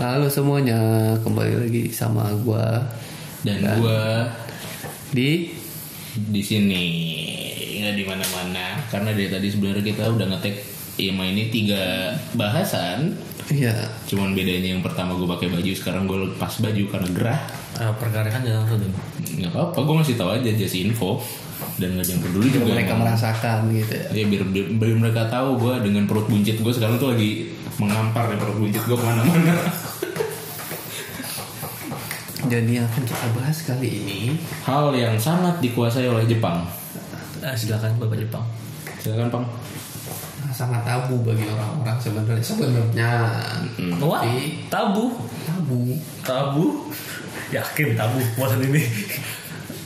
Halo semuanya, kembali lagi sama gua dan gua di di sini nggak di mana-mana karena dari tadi sebenarnya kita udah ngetek IMA ini tiga bahasan ya cuman bedanya yang pertama gue pakai baju sekarang gue lepas baju karena gerah Ah, Eh, pergerakan jangan langsung dulu. nggak apa-apa gue ngasih tahu aja just info dan nggak ada yang peduli juga mereka emang. merasakan gitu ya. ya biar, biar, biar mereka tahu gue dengan perut buncit gue sekarang tuh lagi mengampar ya perut buncit gue kemana-mana Jadi yang akan kita bahas kali ini hal yang sangat dikuasai oleh Jepang Ah, Eh, silakan Bapak Jepang. silakan pang sangat tabu bagi orang-orang sebenarnya sebenarnya Hmm. Wah, Tapi- tabu. tabu Tabu. Yakin tabu puasan ini.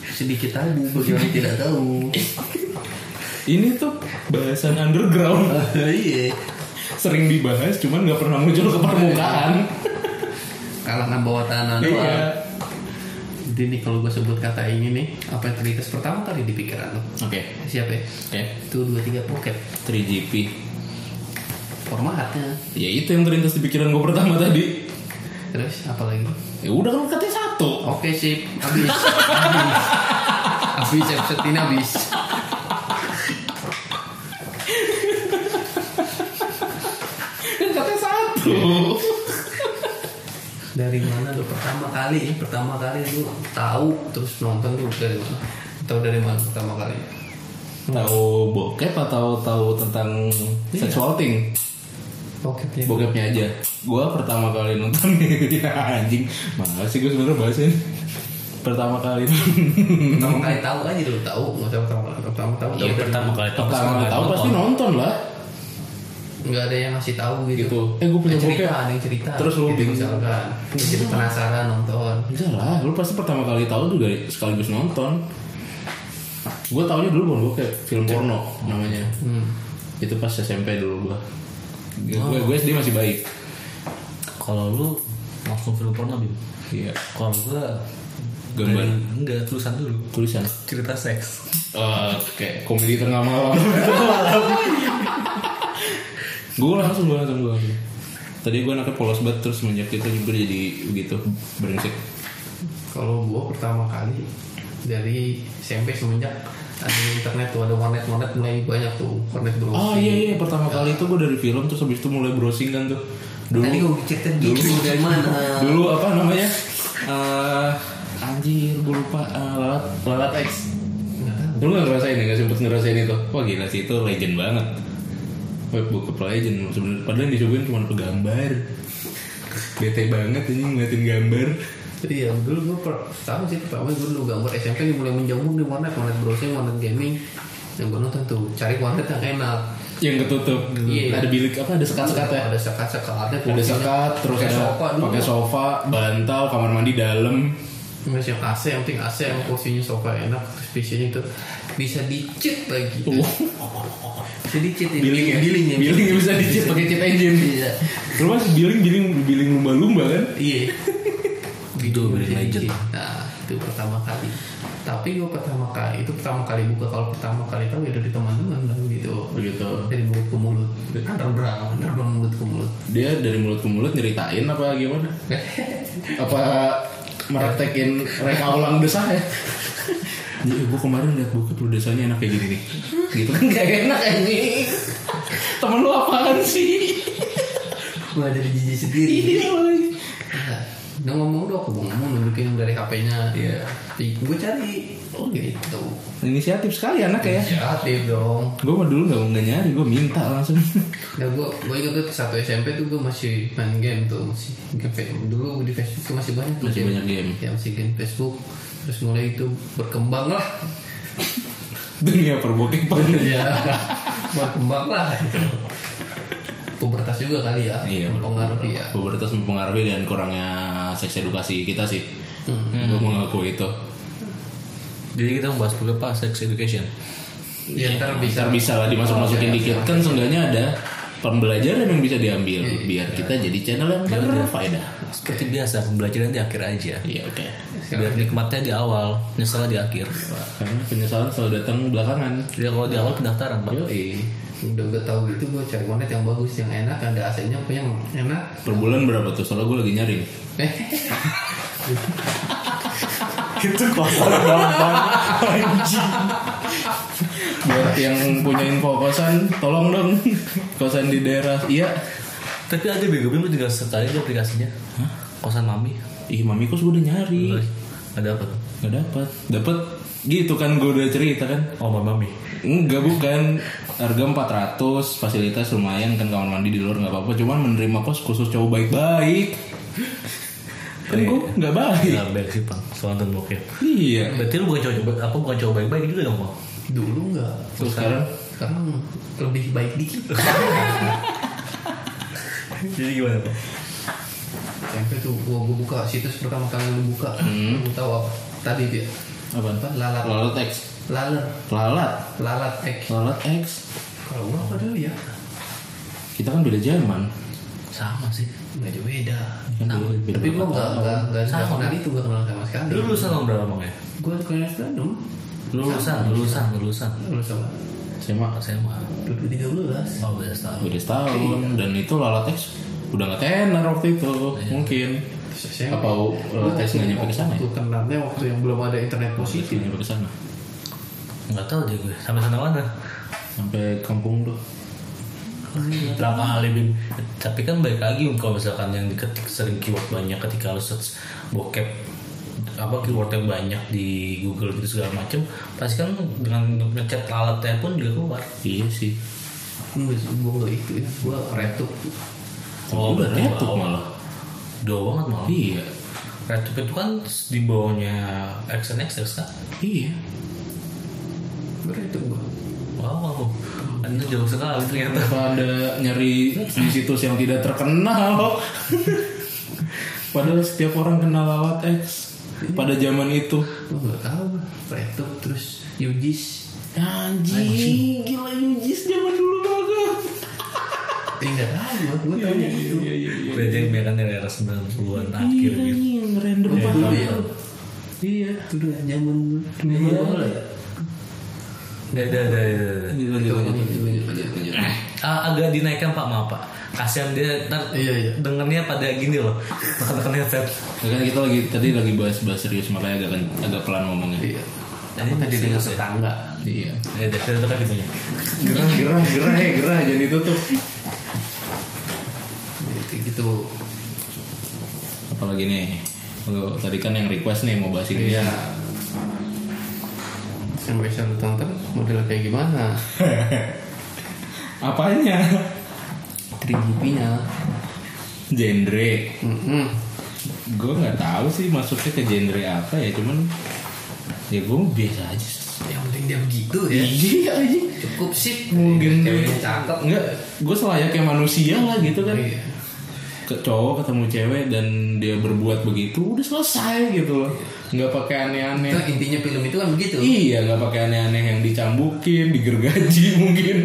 sedikit tabu bagi orang yang tidak tahu. ini tuh bahasan underground Iya, sering dibahas cuman nggak pernah muncul ke permukaan kalangan bawah tanah iya doang. Jadi nih kalau gua sebut kata ini nih, apa yang terlintas pertama kali di pikiran lo? oke Siapa ya? oke Itu dua tiga pocket 3GP formatnya. ya itu yang terlintas di pikiran gue pertama tadi Terus apa lagi? ya udah kan katanya satu Oke sip, habis. habis. Habis episode ini habis. kan katanya satu Dari mana lu pertama kali? Pertama kali lu tahu terus nonton lu dari mana? Tahu dari mana pertama kali? tahu bokep atau tahu tentang sexual thing Pokoknya bokepnya aja gue pertama kali nonton ya anjing mana sih gue sebenarnya bahas ini pertama kali pertama kali tahu aja dulu tahu, nggak tahu pertama kali pertama tahu tahu Iya, dari pertama mana. kali tahu. pertama kali tahu pasti nonton lah Nggak ada yang ngasih tahu gitu. Gitu. Eh, gua punya Ada cerita, bokep. ada yang cerita. Terus lu gitu, bingung. misalkan, Terus jadi penasaran nonton. Enggak lah, lu pasti pertama kali tahu juga sekaligus nonton. Gue taunya dulu bukan bokep, film porno namanya. Hmm. Itu pas SMP dulu gua. Gue gue SD masih baik. Kalau lu langsung film porno Bim. Iya. Kalau gua Gambar. dari- enggak tulisan dulu. Tulisan. Cerita seks. Oke, Eh, komedi tengah malam. gue langsung gue langsung gue langsung. Tadi gue anaknya polos banget terus semenjak itu juga jadi begitu brengsek. Kalau gua pertama kali dari SMP semenjak ada internet tuh ada warnet-warnet mulai banyak tuh warnet browsing. Oh iya iya pertama kali itu gue dari film terus habis itu mulai browsing kan tuh. Dulu Tadi gue cerita gitu dari mana? dulu apa namanya Eh, anjir gue lupa Eh, lalat lalat X Nggak tahu. lu nggak ngerasain ya nggak sempet ngerasain itu wah gila sih itu legend banget web bokep legend sebenarnya padahal yang dicobain cuma pegambar bete banget ini ngeliatin gambar Jadi ya dulu gue pertama sih pertama gue dulu gambar SMP mulai menjamur di warnet warnet browsing warnet gaming yang gue nonton tuh cari warnet yang enak. yang ketutup Iya. ada bilik apa ada sekat-sekat ya Ada sekat-sekatnya. ada sekat terus pakai ada sofa dulu. pakai sofa bantal kamar mandi dalam Mas yang AC yang penting AC Iya. yang kursinya sofa enak terus PC-nya itu bisa dicet lagi. Bisa dicet ini. Oh. billing ya Billing ya. billing yang bisa dicet pakai cheat engine Iya. lu masih billing billing billing lumba-lumba kan Iya. Itu beli Jadi, legend. Nah, itu pertama kali. Tapi gue pertama kali itu pertama kali buka kalau pertama kali tahu ya dari teman-teman lah gitu. begitu Dari mulut ke mulut. Underground, underground mulut ke mulut. dia dari mulut ke mulut nyeritain apa gimana? apa meretekin reka ulang desa ya? Jadi gue kemarin liat bokep lu desanya enak kayak gini nih Gitu kan gak enak anjing Temen lu apaan sih? Gue dari jijik sendiri. Iya. Nah, udah ngomong dong, gue ngomong nunjukin yang dari HP-nya. Iya. Gue cari. Oh gitu. Inisiatif sekali anak ya Kreatif dong. Gue mah dulu gak mau nggak nyari, gue minta langsung Ya gue gue ingat tuh satu SMP tuh gue masih main game tuh masih game Facebook. dulu di Facebook tuh masih banyak tuh Masih banyak game. ya masih game Facebook terus mulai itu berkembang lah Dunia perbokepan ya berkembang lah gitu. pubertas juga kali ya Iya, mempengaruhi ya Pubertas mempengaruhi dan kurangnya seks edukasi kita sih Gue mengaku itu Jadi kita membahas dulu apa sex education. ya ntar bisa Ntar bisa lah Oh, dimasuk-masukin iya, dikit kan seenggaknya ada pembelajaran yang bisa diambil biar kita jadi channel yang berfaedah Seperti biasa pembelajaran di akhir aja. iya oke Sekarang Sekarang biar nikmatnya di awal nyeselnya di akhir Karena penyesalan selalu datang belakangan. ya kalau di awal pendaftaran pak Yoi. udah gue tahu gitu gue cari warnet yang bagus yang enak ada AC-nya apa yang enak Eh, Per bulan berapa tuh? Soalnya gue lagi nyari. Itu kosan gampang. Anjing. Buat yang punya info kosan, tolong dong kosan di daerah. Iya. tapi ada bego bego tinggal search aja di aplikasinya kosan mami Ih, mami kos gue udah nyari. ada apa tuh Gak dapat. Dapat gitu kan gue udah cerita kan. oh mami Enggak bukan Harga 400 Fasilitas lumayan kan kamar mandi di luar nggak apa-apa Cuman menerima kos khusus cowok baik-baik Kan Iya. gue nggak baik nggak Iya, baik sih pak soal nonton bokep Iya berarti lu bukan cowok apa bukan cowok baik baik juga dong pak dulu nggak Terus sekarang sekarang lebih baik dikit jadi gimana pak SMP tuh gua, gua buka situs pertama kali gua buka Lu tahu apa tadi ya. dia Apaan? apa lalat Lalat X laler Lalat lalat X Lalat X kalau gua apa dulu ya Kita kan beda zaman sama sih nggak jauh beda Kan dulu beda Nah, tapi gua berapa nggak tahun. nggak nggak nggak Sama. kenal itu nggak kenal sama sekali lu lulusan tahun berapa bang ya gua kuliah Bandung lulusan lulusan lulusan lulus sama SMA SMA dua ribu tiga belas oh beda setahun Beda setahun Iya. Dan itu Lalat X Udah nggak tenar waktu itu Mungkin Apa Lalat X nggak nyampe ke sana ya? Waktu kenalnya waktu yang belum ada internet positif Nggak nyampe ke sana nggak tahu deh gue sampai sana mana Sampai kampung tuh berapa kali Bim? tapi kan baik lagi kalau misalkan yang diketik sering keyword banyak ketika lo search bokep apa keyword yang banyak di Google gitu segala macem pasti kan dengan ngechat alatnya pun juga keluar Iya sih Enggak, gua nggak itu ya gua retuk Oh, Udah berarti retuk awal. malah doa banget malah Iya Retup itu kan di bawahnya XNX kan Iya gua retuk gua wow anda jauh sekali ternyata Kenapa anda nyari di situs yang tidak terkenal? Padahal setiap orang kenal lewat X pada zaman itu. gua nggak tahu retuk terus Yujis Anjing, gila Yujis zaman dulu banget. Eh, nggak tahu gua gua tanya itu Iya iya iya. berarti yang biarkan dari era 90-an akhir gitu Anjing, random dulu banget. ya Iya. itu udah zaman zaman Iya. awal ya Udah, udah, udah, udah, udah. Lanjut, Itu, lanjut, lanjut. lanjut, lanjut, lanjut, lanjut. Eh, Ah, agak dinaikkan pak maaf pak kasihan dia ntar Iya, iya. dengernya pada gini loh makan headset Ya kan kita lagi tadi lagi bahas-bahas serius makanya agak agak pelan ngomongnya. Iya. Tadi Apa tadi masih dengan ada. tetangga? Iya. ya udah kita kan gitunya Gerah gerah gerah ya gerah jangan ditutup. Ya, Kayak gitu. Apalagi nih. Kalau tadi kan yang request nih mau bahas ini. Iya. Yang biasa lu tonton model kayak gimana? Apanya? 3GP-nya. Genre. Mm-mm. gue nggak tahu sih masuknya ke genre apa ya cuman ya gue biasa aja Yang penting dia begitu ya. iya aja Cukup sih. mungkin gue Ceweknya cakep. nggak gue selayaknya manusia lah gitu kan Iya. ke cowok ketemu cewek dan dia berbuat begitu udah selesai gitu loh nggak pakai aneh-aneh Itu intinya film itu kan begitu. iya nggak pakai aneh-aneh yang dicambukin digergaji mungkin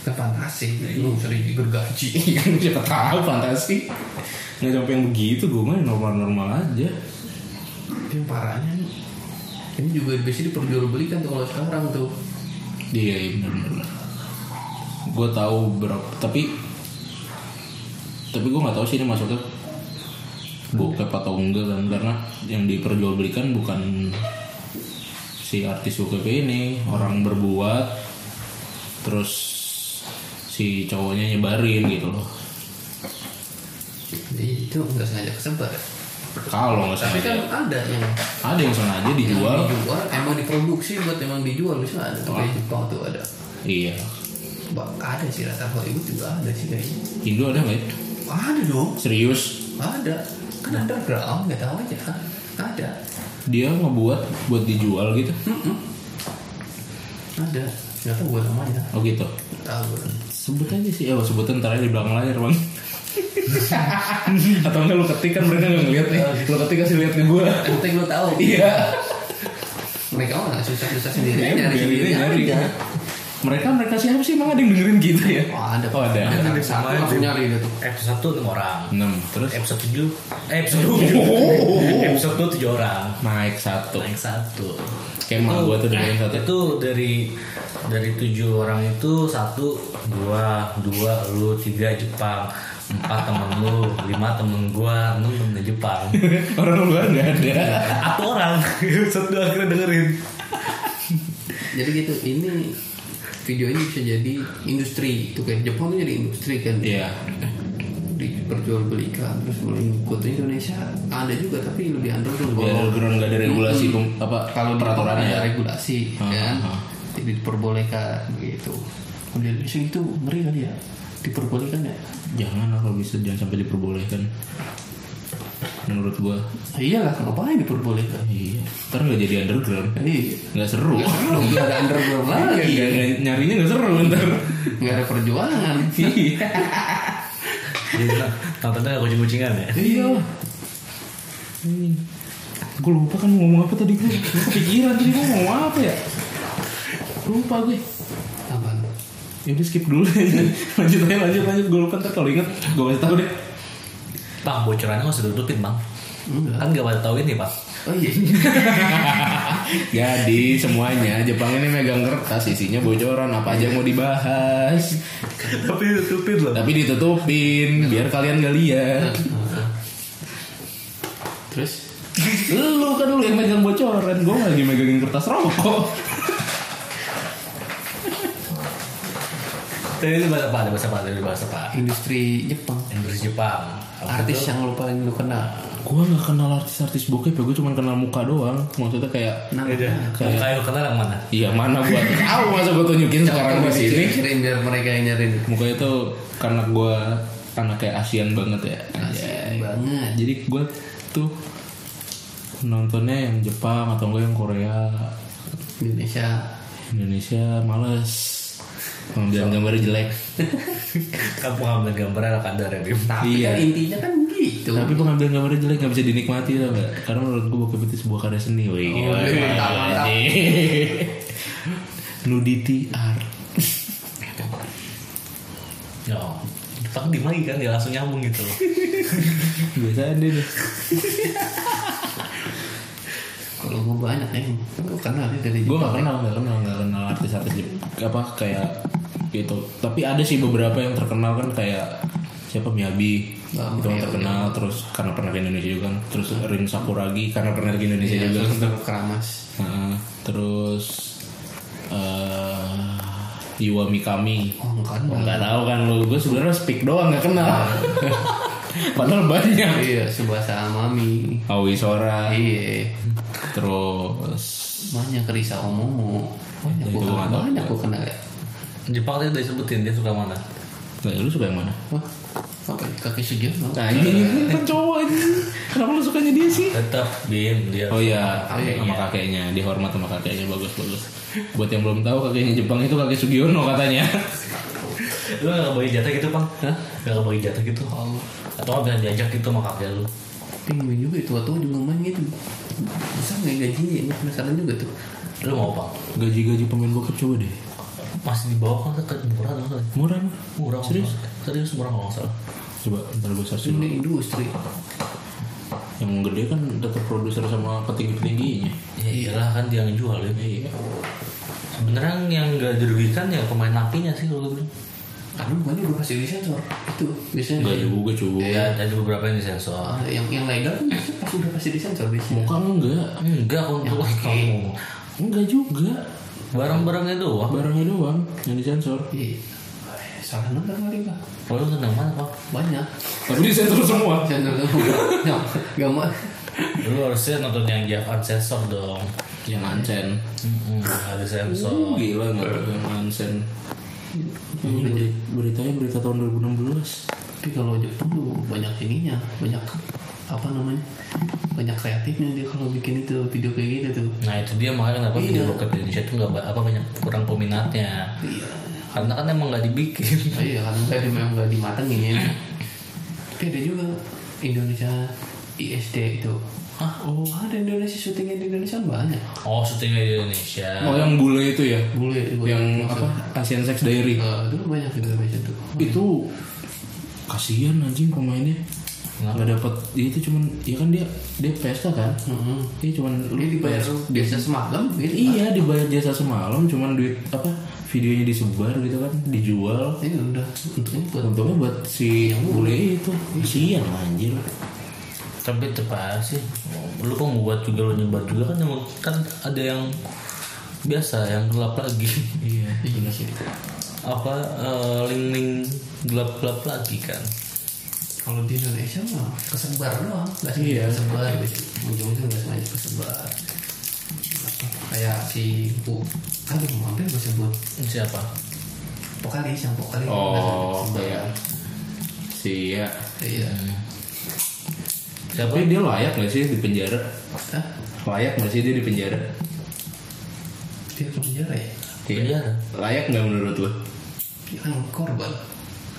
Kan fantasi. Lu sering digergaji. iya kan siapa tahu fantasi nggak sampai yang begitu gue mah normal-normal aja Yang parahnya nih. Ini juga biasanya diperjualbelikan tuh kalau sekarang tuh. Iya iya benar Gue tahu berapa tapi tapi gue nggak tahu sih ini masuknya bokep atau enggak kan karena yang diperjualbelikan bukan si artis bokep ini orang berbuat terus si cowoknya nyebarin gitu loh Jadi itu nggak sengaja kesebar. kalau nggak Tapi sengaja kan ada yang ada yang sengaja dijual dijual emang diproduksi buat emang dijual bisa ada tuh kayak Jepang tuh ada iya Ba- ada sih rata Hollywood juga ada sih kayaknya Indo ada nggak ya? ada dong serius ada kan underground nggak tahu aja ada dia ngebuat buat dijual gitu Mm-mm. ada nggak tahu gue namanya oh gitu nggak tahu gue. sebut aja sih, eh sebut ntar aja di belakang layar bang atau enggak lu ketik kan mereka nggak ngeliat nih lu ketik kasih lihat ke gue yang penting lo tahu iya mereka mah nggak susah susah sendiri Emang Iya, nyari gitu. biar ini sendiri nyari aja kan mereka mereka siapa sih emang ada yang dengerin gitu ya Wah, ada. oh ada Ada Ada satu sama langsung itu. nyari gitu. Episode 1 enam orang. enam terus Episode 7 eh, episode 7. episode 2 7 orang. naik satu Naik satu. kayak emak gue tuh dengerin satu Itu dari dari tujuh orang itu satu gua dua lu tiga Jepang empat temen lu lima temen gua enam temen Jepang orang luar nggak ada Iya. satu orang satu akhirnya dengerin Jadi gitu, ini video ini bisa jadi industri itu kan Jepang tuh jadi industri kan iya diperjualbelikan terus mulai ngikut Indonesia ada juga tapi Iya, lebih ya. underground Di underground nggak ada regulasi pem- apa ya. kalau di Jepang peraturannya ada regulasi Ah, kan ah, ah. jadi diperbolehkan gitu. begitu Kalau di Indonesia itu ngeri kali ya diperbolehkan ya jangan lah kalau bisa jangan sampai diperbolehkan menurut gua Iya iyalah ngapain diperbolehkan iya ntar nggak jadi underground ini nggak seru nggak ada underground Iya, lagi nggak- nggak- nyarinya nggak seru ntar nggak ada perjuangan iya jadi Iya, nontonnya gak kucing-kucingan ya iya gue lupa kan mau ngomong apa tadi gue Gua kepikiran tadi gue ngomong apa ya lupa gue Apaan? ya udah skip dulu aja lanjut aja lanjut lanjut gue lupa ntar kalau inget gue kasih tahu deh bang bocorannya nggak usah tutupin bang Enggak. kan gak pada tahu ini pak oh iya Jadi Ya, semuanya Jepang ini megang kertas isinya bocoran apa aja yang mau dibahas. tapi tutupin loh Tapi ditutupin biar kalian gak lihat. terus Lu kan lu yang megang bocoran, gue lagi megangin kertas rokok. tadi itu bahasa apa ada bahasa apa ada bahasa apa industri Jepang Inggris Jepang Apa artis itu? yang lu paling lu kenal Gue gak kenal artis-artis bokep ya, gue cuma kenal muka doang. Maksudnya kayak Iya. Beda. Kayak- Muka yang kenal yang mana Iya mana gue tahu masa gue tunjukin sekarang di sini. ciri-ciri ya. biar mereka yang nyariin Muka itu karena gue anak kayak Asian banget ya. Iya, Anjay. banget jadi gue tuh nontonnya yang Jepang atau enggak yang Korea Indonesia Indonesia males ngambil gambar jelek kamu ngambil gambar anak anda ya Bim Ya, iya intinya kan gitu tapi pengambilan gambar jelek nggak bisa dinikmati tau nggak karena menurut gue bokep itu sebuah karya seni woi Oh, iya. Woi, mantap, mantap. nudity art ya Jepang di lagi kan dia langsung nyambung gitu loh biasa deh deh. kalau gue banyak ya gue kenal ya dari gue nggak kenal nggak kenal nggak kenal artis-artis Jep- apa kayak gitu tapi ada sih beberapa yang terkenal kan kayak siapa Miyabi Nah, itu yang terkenal terus karena pernah ke Indonesia juga kan terus Rin Sakuragi karena pernah ke Indonesia Iya, juga terus terus keramas Heeh. terus eh Iwa Mikami oh nggak Oh, kenal nggak tahu kan lu gue sebenarnya speak doang nggak kenal padahal banyak iya sebahasa amami Aoi Sora iya terus banyak kerisa omomo banyak gue Iya, Itu gua nggak kenal tahu. banyak gue kenal ya Jepang tadi udah disebutin dia suka mana Nah, lu suka yang mana? wah apa ya? kaki sejauh mau Anjing, kan cowok anjing. Kenapa lu sukanya dia sih? tetap Bim dia Oh iya, Kakeknya. sama kakeknya, dihormat sama kakeknya bagus bagus. Buat yang belum tahu kakeknya Jepang itu kakek Sugiono katanya. lu gak bagi jatah gitu bang Hah? gak bagi jatah gitu atau nggak bilang diajak gitu sama kakek lu pengen Nah, juga itu tua juga main gitu bisa nggak gajinya ya? ini penasaran juga tuh lu mau bang Gaji-gaji pemain bokep coba deh. masih di bawah kan ke murah dong kan Murah mah. murah kalau Serius? nggak salah. serius murah kalau nggak salah Coba ntar gue search dulu. ini industri Yang gede kan tetap produser sama petinggi-petingginya. ya iyalah kan dia yang jual ya Iya. sebenarnya yang gak dirugikan ya pemain lakinya sih kalau gitu. gue bilang karena bukannya udah pasti disensor itu biasanya Gak juga coba. ya ada beberapa yang disensor Ah, yang yang legal kan biasanya pasti udah pasti disensor biasanya Muka enggak. enggak untuk kamu Enggak juga. barang-barangnya doang Barangnya doang yang disensor. Iya. Eh, Salah nomor kali pak. kalau lu tentang mana bang Banyak. Tapi disensor semua. Saya nggak tahu. Ya, nggak mau. Lu harusnya nonton yang Jeff Unsensor dong Yang Ansen. Mm-mm, Ada sensor Ya, Oh, Gila nggak tuh yang Ansen. Ini beri- beritanya berita tahun 2016. Tapi kalau Jepang tuh banyak ininya, banyak apa namanya, banyak kreatifnya dia kalau bikin itu video kayak gitu tuh. Nah itu dia makanya kenapa video bokep di Indonesia itu nggak ba- apa banyak kurang peminatnya Iya. Karena kan emang nggak dibikin Oh, iya kan nggak di- memang nggak ya. dimatengin. Tapi ada juga Indonesia ISD itu. Hah? Oh, ada Indonesia syutingnya di Indonesia banyak. Oh syutingnya di Indonesia. Oh yang bule itu ya? Bule gua Yang ingat. apa? Asian Sex Diary. Eh, dulu banyak di Indonesia tuh. itu kasihan anjing pemainnya nggak dapat dia itu cuman ya kan dia dia PSK kan Heeh. dia cuman Ini dibayar biasa semalam gitu. iya dibayar jasa semalam cuman duit apa videonya disebar gitu kan dijual Ini udah untuk ini buat untungnya buat si yang bule itu kasihan anjir Tapi tepat sih. Lu kok buat juga lu nyebar juga kan yang kan ada yang biasa yang gelap lagi. iya benar sih Apa eh, link-link gelap-gelap lagi kan. kalau di Indonesia mah kesebar doang, nggak sih? Iya. Kesebar, gitu. ujung-ujung nggak sengaja kesebar. Apa, Kayak si Bu, aduh mau hampir gue sebut Siapa? Pokalis yang Pokalis oh Kesebar. iya si ya Iya. Siapa? tapi dia layak gak sih di penjara Hah? layak gak sih dia di penjara Dia ke penjara ya? Iya. Penjara. layak nggak menurut lo Dia kan korban.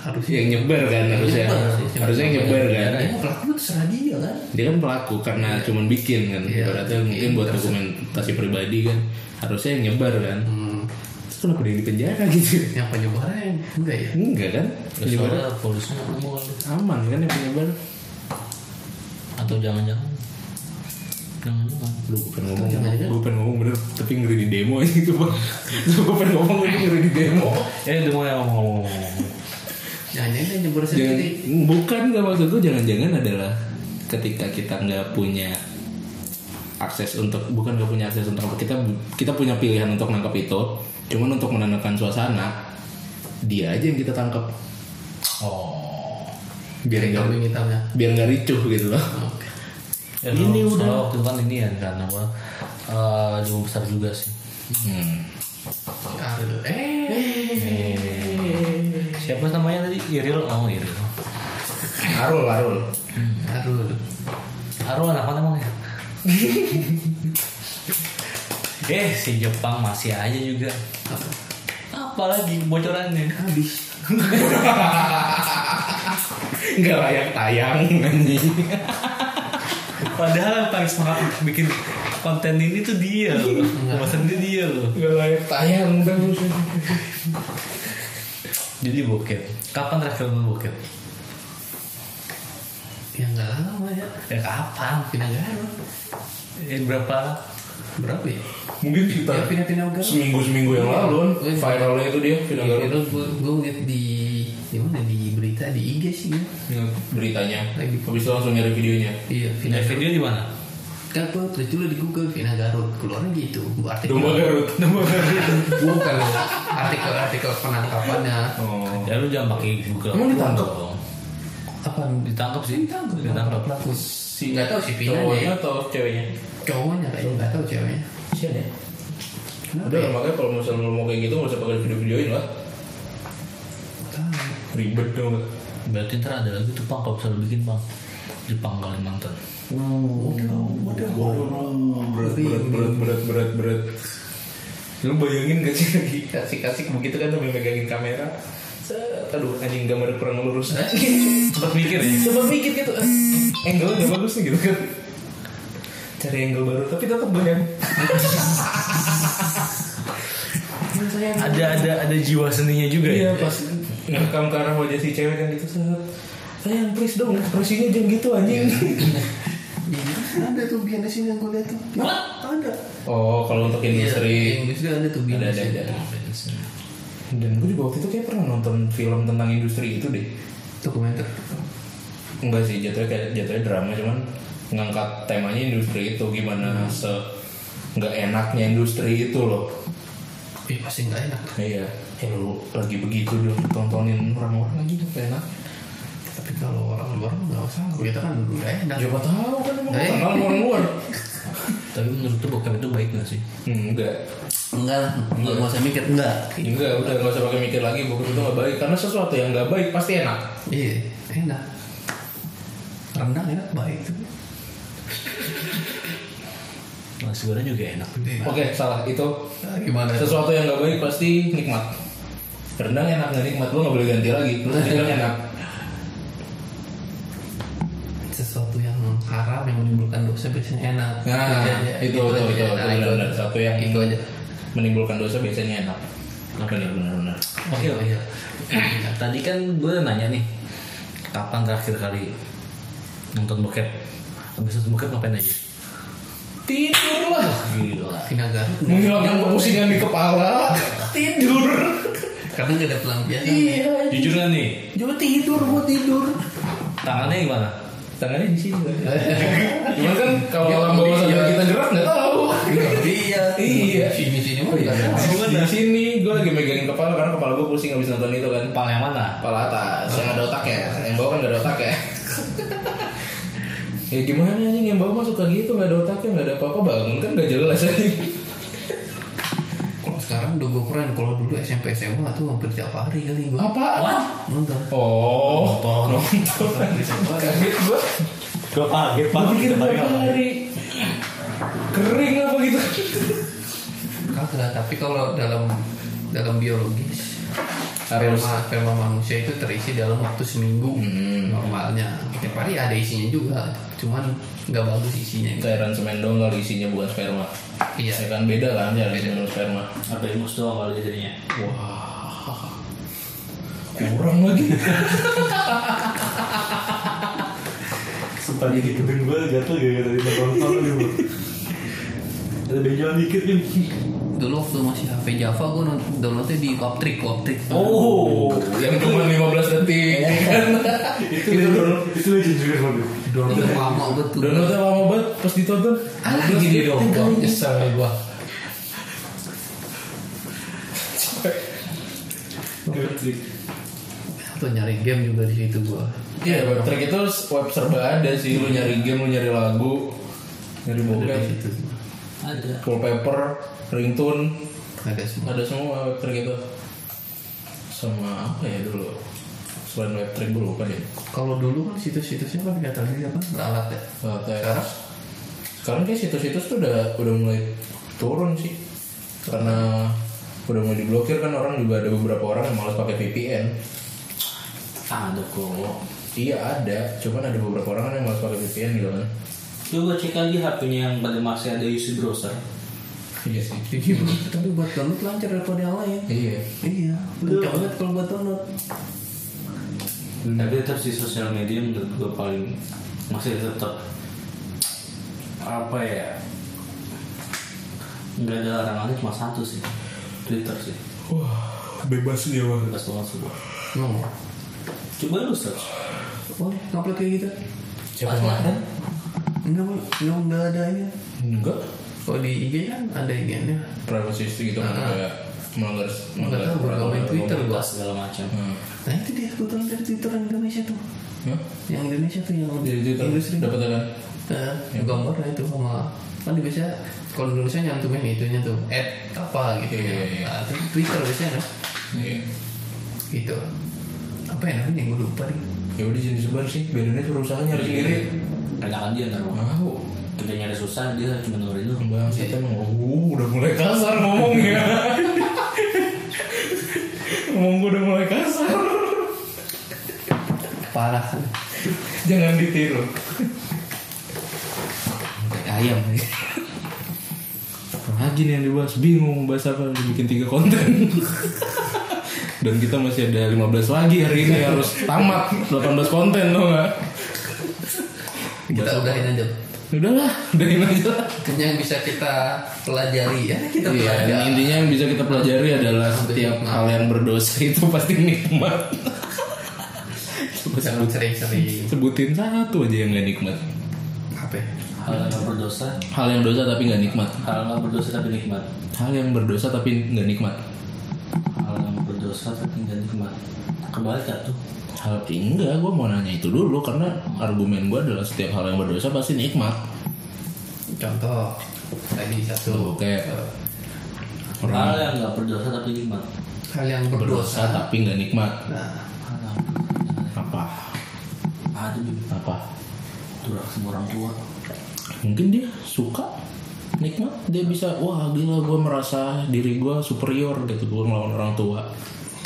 Harusnya. yang nyebar kan harusnya nyebar sih. harusnya yang nyebar kan Ya, pelaku itu terserah dia kan. dia kan pelaku karena cuman bikin kan Iya. ibaratnya mungkin Iya, buat terus- dokumentasi pribadi kan harusnya yang nyebar kan Hmm, terus kenapa dia di penjara gitu yang penyebaran enggak ya? enggak kan Ya, penyebar soalnya polisinya ngomong kali. aman kan yang penyebar Atau jangan-jangan. kan? Jangan-jangan. lu bukan ngomong jangan- gue pengen ngomong bener tapi ngeri di demo aja gitu bang gue pengen ngomong tapi ngeri di demo Eh, demo yang ngomong-ngomong. Jangan-jangan dia nyebar jangan sendiri. bukan nggak maksud gue jangan-jangan adalah ketika kita nggak punya akses untuk bukan nggak punya akses untuk apa kita kita punya pilihan untuk nangkap itu cuman untuk menenangkan suasana dia aja yang kita tangkap Oh. biar nggak Kambing hitamnya. biar nggak ricuh gitu loh Oke. Ya, ini udah waktu itu kan ini ya kan apa eh jauh besar juga sih. hmm. Ariel. Eh. Eh, siapa namanya tadi? Iril oh Iril. Arul Arul Ariel. Haru anak mana emang ya? eh si Jepang masih aja juga. Apalagi bocorannya. Habis. nggak layak tayang anjing Padahal yang paling semangat bikin konten ini tuh dia loh. Iya. Pembahasan dia dia loh. nggak layak tayang udah Jadi bokep. Kapan terakhir lu bokep? Ya enggak lama ya. Ya kapan? Pindah-pindah. lu. Eh, berapa? Berapa ya? mungkin Ya kita pindah-pindah gara. seminggu seminggu yang lalu Iya. viralnya itu dia video Itu gue gue ngeliat di di mana di berita di IG sih ya. beritanya Lagi. habis itu langsung nyari videonya Iya, Nah, Vina Garut. video di mana? Kan gue tulis dulu di Google Vina Garut, keluarnya gitu. Bu, Artikel Domba Garut Domba Garut bukan artikel-artikel penangkapannya. oh Ya lu jangan pakai Google. Emang ditangkap? Dong. Apa? Ditangkap sih. Ditangkap. Ditangkap. Pelaku si nggak tahu si Vina cowoknya ya. atau ceweknya Cowoknya kayaknya nggak tahu ceweknya. siapa Kenapa? udah ya? makanya kalau misalnya lo mau kayak gitu nggak usah pakai video-videoin lah Tahu. ribet dong Berarti ntar ada lagi tuh pang kalau bisa lu bikin pang Jepang Kalimantan. berat berat berat berat berat berat lu bayangin gak sih lagi kasih kasih begitu kan sambil megangin kamera Set, aduh anjing gambar kurang lurus Cepat Eh, mikir ya. coba mikir gitu eh, angle gak bagus nih gitu kan cari angle baru tapi tetap bayang Ada ada ada jiwa seninya juga Iya ya. pas ngerekam ke arah wajah si cewek kan gitu set. Sayang please dong ekspresinya jangan gitu anjing Iya, ada tuh Bian di sini yang gue lihat tuh. Ada. Oh kalau untuk industri Inggris ada tuh Bian. Ada, di ada, sini. ada. iya, Dan gue juga waktu itu kayak pernah nonton film tentang industri itu deh Dokumenter. Enggak sih jatuhnya kayak jatuhnya drama cuman Ngangkat temanya industri itu gimana se nggak enaknya industri itu loh Ih pasti nggak enak. Iya Ya lu lagi begitu dong tontonin orang-orang lagi nggak enak Tapi kalau orang luar mah nggak usah. Kita kan udah enak. Siapa tahu kan emang Eh. kenal sama orang luar Tapi menurut tuh bokep itu baik gak sih? Hmm, Enggak Enggak lah, enggak usah mikir enggak. Enggak, udah gak usah pakai mikir lagi buku itu gak baik Karena sesuatu yang gak baik pasti enak Iya, enak. Rendang enak baik tuh. Nasi goreng juga enak. Iya. Oke, salah, itu Nah, gimana? tuh? Sesuatu yang gak baik pasti nikmat Rendang enak gak nikmat, lo gak boleh ganti lagi Terus rendang enak sesuatu yang haram yang menimbulkan dosa biasanya enak. Nah, aja. itu, Gitu aja. itu, itu, Nah, itu, itu benar. aja. Satu yang Itu aja. menimbulkan dosa biasanya enak. Apa nih benar-benar? Oh, Oke, iya, oke. Tadi kan gue nanya nih, kapan terakhir kali nonton bokep? Habis nonton bokep ngapain aja? Tidur lah. Gila. Final Garut. Menghilangkan kepusingan di kepala. Tidur. Karena nggak ada pelampiasan. Iya. Jujur gak nih? Cuma tidur, gua tidur. Tangannya gimana? Tangannya di sini. Cuman kan kalau orang bawah sadar kita gerak nggak tahu. Iya, Iya. Sini sini mah nggak ada. Di sini gue lagi megangin kepala karena kepala gue pusing habis nonton itu kan. Kepala yang mana? Kepala atas yang ada otak ya, yang bawah kan nggak ada otak ya. ya gimana anjing yang bawah masuk kayak gitu nggak ada otaknya nggak ada apa-apa bangun kan nggak jelas anjing. Kalau sekarang udah gue keren. Kalau dulu SMP SMA tuh hampir tiap hari kali Oh. gue Apa? nonton. Oh, nonton. Kaget gue. Gue kaget banget Pikir kemarin tiap ngapain. hari. Kering apa gitu? Kagak. Tapi kalau dalam dalam biologis Harus. sperma, sperma manusia itu terisi dalam waktu seminggu Hmm. normalnya. Tiap hari ada isinya juga, cuman nggak bagus isinya. gitu. Cairan semen dong kalau isinya bukan sperma. Iya. Ya kan beda kan cairan semen dan sperma. Apa imus doang kali jadinya? Wah. Kurang lagi. Sumpah jadi gedung gue jatuh gara-gara di nonton lu Bang. Ada benjolan dikit kan Dulu waktu masih HP Java gue nonton downloadnya di Optrick, Optrick. Oh, yang cuma 15 detik. Itu legend- Itu legend juga Bang. Itu lama betul. Downloadnya lama banget pas ditonton. kan Alah gini dong, gua nyesel gua. Gede. Atau nyari game juga di situ gua. Iya, web track itu web serba ada sih. Lu nyari game, lu nyari lagu, nyari Ada bokep, di situ. Ada. wallpaper, ringtone, Ada semua. ada semua web track itu. Sama apa ya dulu? Selain web track gue lupa deh. Kalau dulu kan situs-situsnya kan kata lagi apa? Lalat ya. Sekarang, sekarang kayak situs-situs tuh udah udah mulai turun sih. Karena udah mulai diblokir kan orang juga ada beberapa orang yang malas pakai VPN. Ada kok. Iya ada, cuman ada beberapa orang kan yang malas pakai VPN gitu kan. Coba cek lagi HP-nya yang pada masih ada UC browser. Iya sih. Jadi tapi buat download lancar daripada yang lain. Iya. Iya, kencang banget kalau buat download. Tapi tetap si sosial media menurut gue paling masih tetap apa ya? Nggak ada larangannya cuma satu sih. Twitter sih. Bebas dia Bang. Bebas banget sih gua. Ngomong. Coba lu search. Oh, ngupload kayak gitu? Siapa kemarin? Enggak, Bang. enggak, enggak ada ya. Enggak. Kalau di IG kan ada IG-nya. Privacy itu gitu kan Ah. kayak melanggar Enggak tahu gua peraturan. kalau main Twitter gua. Bebas segala macam. Hmm. Nah, itu dia gua download dari Twitter yang Indonesia tuh. Hah? Yang Indonesia tuh yang Jadi Twitter Iya. industri. dapat apa? Nah, gambarnya itu sama kan biasanya kalau Indonesia nyantumin itunya tuh at apa gitu Iya, iya, iya. ya. Nah, itu Twitter biasanya kan. Iya. Gitu. Apa ya namanya? Gue lupa nih. Ya udah jadi sebar sih. Bedanya suruh usaha nyari sendiri. Kadang-kadang dia ntar Mau. kita nyari susah dia cuma dengerin lu. Bang, kita emang oh, udah mulai kasar ngomongnya. Ngomong gua udah mulai kasar. Parah kan. Jangan ditiru. Kayak ayam. Lagi nih yang dibahas bingung bahas apa bikin tiga konten. Dan kita masih ada 15 lagi hari ini harus tamat 18 konten loh nggak? Kita udahin aja. Udahlah, udahin aja lah. Kayaknya yang bisa kita pelajari ya. Kita Iya, dan pelajari. intinya yang bisa kita pelajari adalah setiap hal yang berdosa itu pasti nikmat. Coba Jangan sebut- sering-sering sebutin satu aja yang gak nikmat. apa? ya? Hal yang nggak berdosa, Hal yang dosa tapi gak nikmat. hal nggak berdosa tapi nikmat. Hal yang berdosa tapi gak nikmat. Hal yang berdosa tapi nggak nikmat. Kebalik ya tuh. Hal eh, enggak, gue mau nanya itu dulu karena argumen gue adalah setiap hal yang berdosa pasti nikmat. Contoh tadi satu Tuh, kayak eh, Hal orang yang nggak berdosa tapi nikmat. hal yang berdosa berdosa. tapi gak nikmat. Nah, Hal yang berdosa. Apa? Ada Bim. Apa? Durhaka sama orang tua. Mungkin dia suka nikmat dia bisa wah gila gue merasa diri gue superior gitu gue ngelawan orang tua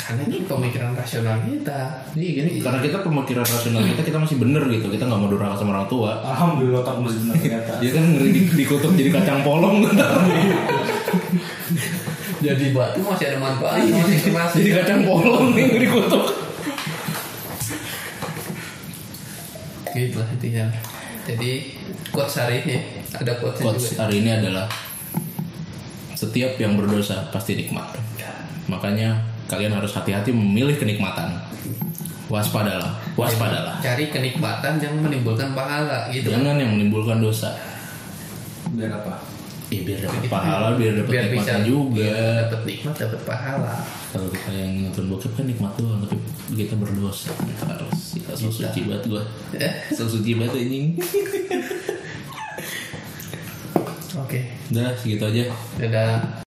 karena ini pemikiran rasional kita Iya gini, karena kita pemikiran rasional kita kita masih bener gitu, kita nggak mau durhaka sama orang tua. Alhamdulillah otak masih benar ternyata. Dia kan ngeri di- dikutuk jadi kacang polong jadi batu masih ada manfaat masih keras jadi kacang polong nih dikutuk. gitu lah intinya jadi quotes hari ini ada quotes Quotes juga hari ini adalah setiap yang berdosa pasti nikmat. Makanya kalian harus hati-hati memilih kenikmatan. Waspadalah, waspadalah. cari kenikmatan yang menimbulkan pahala gitu Jangan yang menimbulkan dosa. Biar apa? Ya biar dapat pahala, biar dapat nikmatan juga. dapat nikmat dapat pahala Kalau kita yang nonton bokep kan nikmat doang, tapi kita berdosa terus. Kita so suci banget gua. Ya. So suci banget anjing. oke Udah segitu aja. dadah